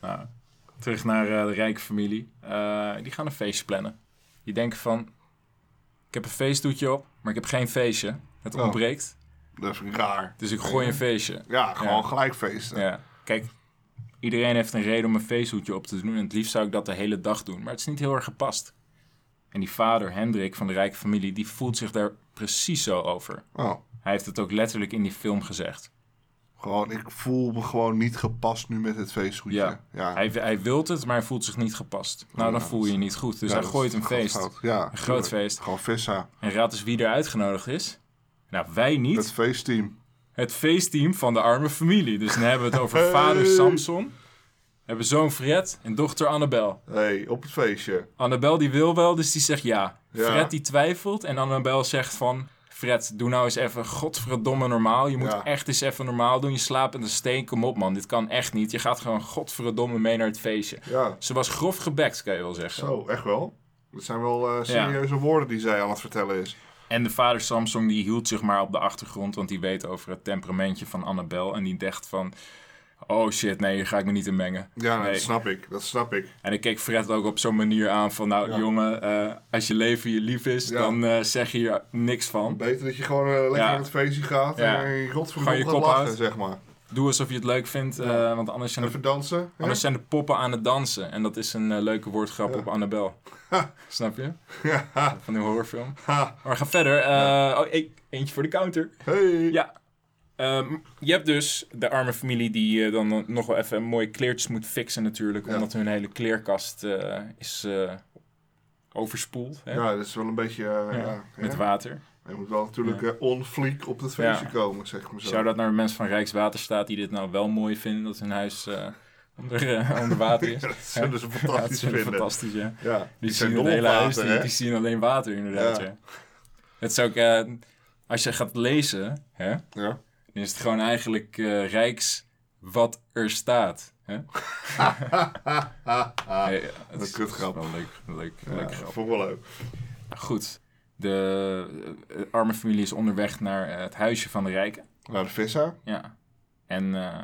Nou, terug naar eh, de rijke familie. Eh, die gaan een feestje plannen. Die denken van... Ik heb een feestdoetje op, maar ik heb geen feestje. Het Oh. ontbreekt, Dat is raar. dus ik gooi een feestje. Ja, gewoon Ja. gelijk feesten. Ja. Kijk, iedereen heeft een reden om een feesthoedje op te doen. En het liefst zou ik dat de hele dag doen. Maar het is niet heel erg gepast. En die vader, Hendrik, van de rijke familie... die voelt zich daar precies zo over. Oh, Hij heeft het ook letterlijk in die film gezegd. gewoon, ik voel me gewoon niet gepast nu met het feestgoedje. Ja. Hij, hij wil het, maar hij voelt zich niet gepast. Nou, dan voel je je niet goed. Dus Ja, hij dat gooit is een groot feest. fout. Ja, Een groot tuurlijk. feest. Gewoon vissa. En raad eens wie er uitgenodigd is. Nou, wij niet. Het Het, feestteam. feestteam van de arme familie. Dus dan hebben we het over vader Samson. Hebben zoon Fred en dochter Annabel. hey, op het feestje. Annabel die wil wel, dus die zegt ja. Ja. Fred die twijfelt en Annabel zegt van... Fred, doe nou eens even godverdomme normaal. Je moet Ja. echt eens even normaal doen. Je slaapt in de steen. Kom op man, dit kan echt niet. Je gaat gewoon godverdomme mee naar het feestje. Ja, Ze was grof gebekt, kan je wel zeggen. zo, echt wel. Dat zijn wel eh, serieuze woorden die zij aan het vertellen is. En de vader Samsung die hield zich maar op de achtergrond, want die weet over het temperamentje van Annabel. En die dacht van, oh shit, nee, hier ga ik me niet in mengen. Ja, nou, Nee. dat snap ik. Dat snap ik. En ik keek Fred ook op zo'n manier aan van, nou Ja. jongen, eh, als je leven je lief is, Ja. dan eh, zeg je hier niks van. Beter dat je gewoon eh, lekker Ja. naar het feestje gaat Ja. en je Gewoon je godverdomme kop gaat lachen, uit. zeg maar. Doe alsof je het leuk vindt, eh, want anders zijn, de, Even dansen. hè? anders zijn de poppen aan het dansen. En dat is een eh, leuke woordgrap op Annabel. Snap je? Ja, Van die horrorfilm. ha. Maar ga verder. eh, oh, e- eentje voor de counter. Hey. Ja. Ehm, je hebt dus de arme familie die eh, dan nog wel even mooie kleertjes moet fixen natuurlijk. Ja. Omdat hun hele kleerkast eh, is eh, overspoeld hè, Ja, dat is wel een beetje... eh, Ja, ja, met ja. water. Je moet wel natuurlijk eh on fleek op het feestje komen, zeg maar zo. Zou dat naar de mensen van Rijkswaterstaat die dit nou wel mooi vinden dat hun huis eh, onder, eh, onder water is? Ja, dat zullen ze fantastisch Ja, dat vinden vinden. fantastisch, ja. Ja, Die, die zijn zien dol het op hele huis, water, die, hè? die zien alleen water inderdaad. Ja. Ja. Het is ook, eh, als je gaat lezen, hè, Ja. dan is het gewoon eigenlijk eh, Rijks wat er staat. Hè? Ah, Nee, het is- kutgrap. het is wel leuk, leuk, ja, leuk dat grap. vond ik wel leuk. Goed. De eh, arme familie is onderweg naar eh, het huisje van de rijken. Nou, de vissa? Ja. En eh,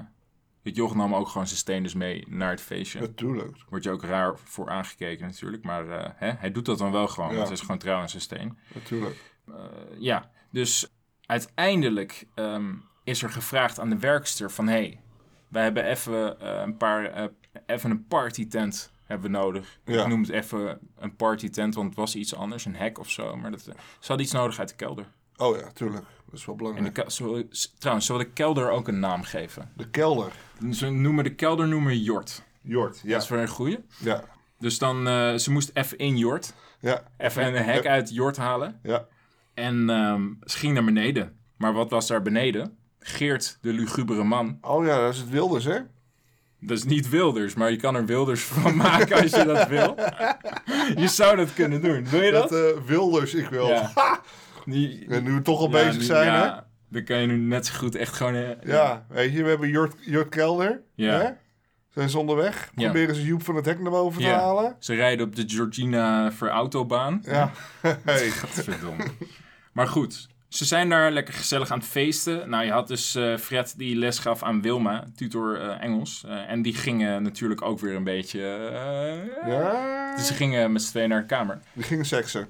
het joch nam ook gewoon zijn steen dus mee naar het feestje. Natuurlijk. Wordt je ook raar voor aangekeken natuurlijk. Maar eh, hè, hij doet dat dan wel gewoon. Ja. Want hij is gewoon trouw aan zijn steen. Natuurlijk. Eh, ja. Dus uiteindelijk ehm, is er gevraagd aan de werkster van... hey, wij hebben even eh, een paar... eh, even een partytent hebben we nodig. Ja. Ik noem het even een partytent, want het was iets anders, een hek of zo. Maar dat, eh, ze hadden iets nodig uit de kelder. Oh ja, tuurlijk. Dat is wel En de belangrijk. ke- zo, s- trouwens, ze willen de kelder ook een naam geven. De kelder. Ze noemen de kelder noemen Jort. Jort, ja. Dat is wel een goeie. Ja. Dus dan, eh, ze moest even in Jort. Ja. Even een hek uit Jort halen. Ja. En ehm, ze ging naar beneden. Maar wat was daar beneden? Geert, de lugubere man. Oh ja, dat is het Wilders, hè? Dat is niet Wilders, maar je kan er Wilders van maken als je dat wil. Je zou dat kunnen doen. Wil je dat? Dat eh, Wilders, ik wil. Ja. Die- En nu we toch al Ja, bezig nu- zijn, ja, hè? Dan kan je nu net zo goed echt gewoon... eh, Ja, weet je, we hebben Jort, Jort Kelder. Ja. Hè? Zijn ze onderweg. Ja. Proberen ze Joep van het hek naar boven te Ja. halen. Ze rijden op de Georgina voor autobaan. Ja. Hey. Godverdomme. maar goed, ze zijn daar lekker gezellig aan het feesten. Nou, je had dus eh, Fred die les gaf aan Wilma, tutor eh, Engels. Eh, en die gingen natuurlijk ook weer een beetje... eh, Ja. Dus ze gingen met z'n tweeën naar de kamer. Die gingen seksen.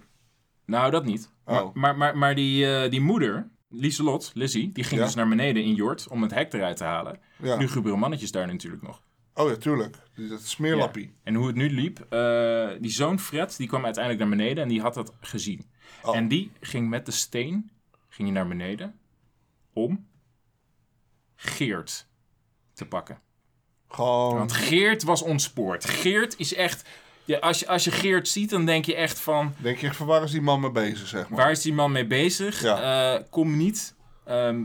Nou, dat niet. Oh. Maar, maar, maar die, eh, die moeder, Lieselot, Lizzie, die ging Ja. dus naar beneden in Jort om het hek eruit te halen. Ja. Nu gebeuren mannetjes daar natuurlijk nog. Oh ja, tuurlijk. Die- Dat smeerlappie. En hoe het nu liep, eh, die zoon Fred, die kwam uiteindelijk naar beneden en die had dat gezien. Oh. En die ging met de steen, ging hij naar beneden, om Geert te pakken. Gewoon. Want Geert was ontspoord. Geert is echt, ja, als, je, als je Geert ziet, dan denk je echt van, Denk je echt van waar is die man mee bezig, zeg maar? waar is die man mee bezig? Ja. Eh, kom niet ehm,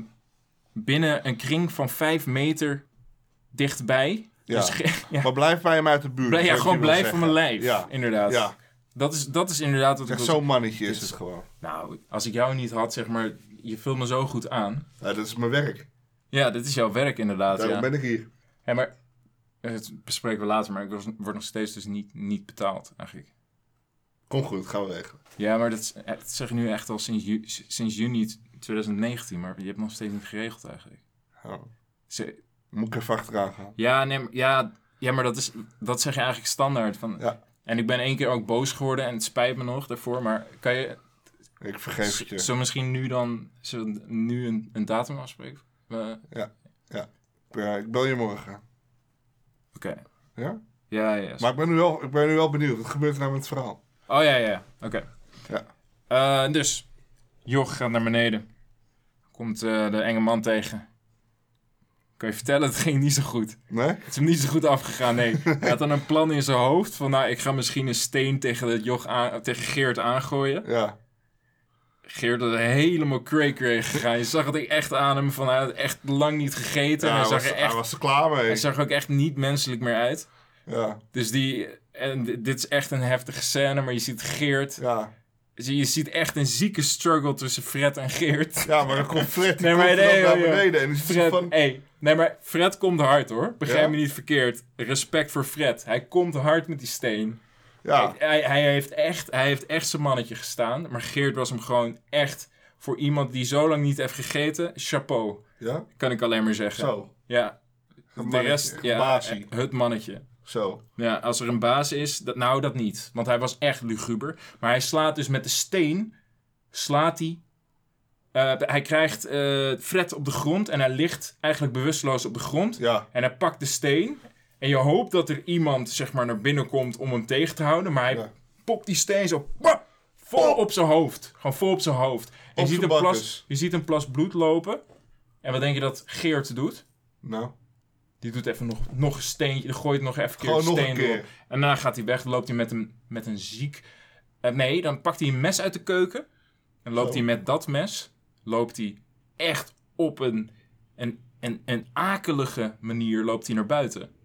binnen een kring van vijf meter dichtbij. Ja. Dus Ge- ja. Maar blijf bij hem uit de buurt. Blij- zou ja, ik gewoon je wel blijf zeggen. van mijn lijf. Ja. Inderdaad. Ja. Dat is, dat is inderdaad wat ik Echt wil- zo'n mannetje is het gewoon. Nou, als ik jou niet had, zeg maar, je vult me zo goed aan. Ja, dat is mijn werk. Ja, dit is jouw werk inderdaad. Daarom Ja. ben ik hier. Hé, maar het bespreken we later, maar ik was- word nog steeds dus niet, niet betaald eigenlijk. Kom goed, gaan we regelen. Ja, maar dat, is- eh, dat zeg ik nu echt al sinds, ju- sinds juni t- 2019, maar je hebt nog steeds niet geregeld eigenlijk. Ja. Ze- Moet ik even achteraan gaan. ja, nee, maar- ja, Ja, maar dat, is, dat zeg je eigenlijk standaard. Van, Ja. En ik ben één keer ook boos geworden en het spijt me nog daarvoor. Maar kan je, Ik vergeef het je. zo misschien nu dan zo nu een, een datum afspreken? Eh, Oké. Ja, ik bel je morgen. Ja? Ja, ja. Maar ik ben, nu wel, ik ben nu wel benieuwd. Wat gebeurt er nou met het verhaal? Oh ja, ja. Oké. Ja. Eh, dus, Joch gaat naar beneden. Komt eh, de enge man tegen. Kan je vertellen, het ging niet zo goed. Nee? Het is hem niet zo goed afgegaan, nee. Hij had dan een plan in zijn hoofd van... nou, ik ga misschien een steen tegen, dat Joch aan, tegen Geert aangooien. Ja. Geert had helemaal cray-cray gegaan. Je zag het echt aan hem van... hij had echt lang niet gegeten. Ja, en hij, hij, zag was, er hij echt, was er klaar mee. hij zag er ook echt niet menselijk meer uit. Ja, Dus die... En dit dit is echt een heftige scène, maar je ziet Geert... ja. Je je ziet echt een zieke struggle tussen Fred en Geert. ja, maar dan komt Fred die Nee, maar komt dan nee, naar joh, joh. beneden. En die zegt Fred, van... hey, nee, maar Fred komt hard hoor. Begrijp Ja? me niet verkeerd. Respect voor Fred. Hij komt hard met die steen. Ja, Hij, hij, heeft echt, hij heeft echt zijn mannetje gestaan. Maar Geert was hem gewoon echt voor iemand die zo lang niet heeft gegeten. Chapeau, ja. kan ik alleen maar zeggen. Zo. Ja, Een de mannetje, rest, een ja, baasie. het mannetje. Zo. Ja, als er een baas is, dat, nou dat niet. Want hij was echt luguber. Maar hij slaat dus met de steen, slaat hij. eh, hij krijgt eh Fred op de grond en hij ligt eigenlijk bewusteloos op de grond. Ja. En hij pakt de steen. En je hoopt dat er iemand zeg maar, naar binnen komt om hem tegen te houden. Maar hij Ja. popt die steen zo pap, vol op zijn hoofd. Gewoon vol op zijn hoofd. En Op je ziet, een plas, zijn bakkes. je ziet een plas bloed lopen. En wat denk je dat Geert doet? Nou. Die doet even nog, nog een steentje. Die gooit nog even een keer Gewoon een nog steen een keer. erop. En daarna gaat hij weg. loopt hij met een, met een ziek... eh, nee, dan pakt hij een mes uit de keuken. En loopt Zo. hij met dat mes... Loopt hij echt op een, een, een, een akelige manier loopt hij naar buiten.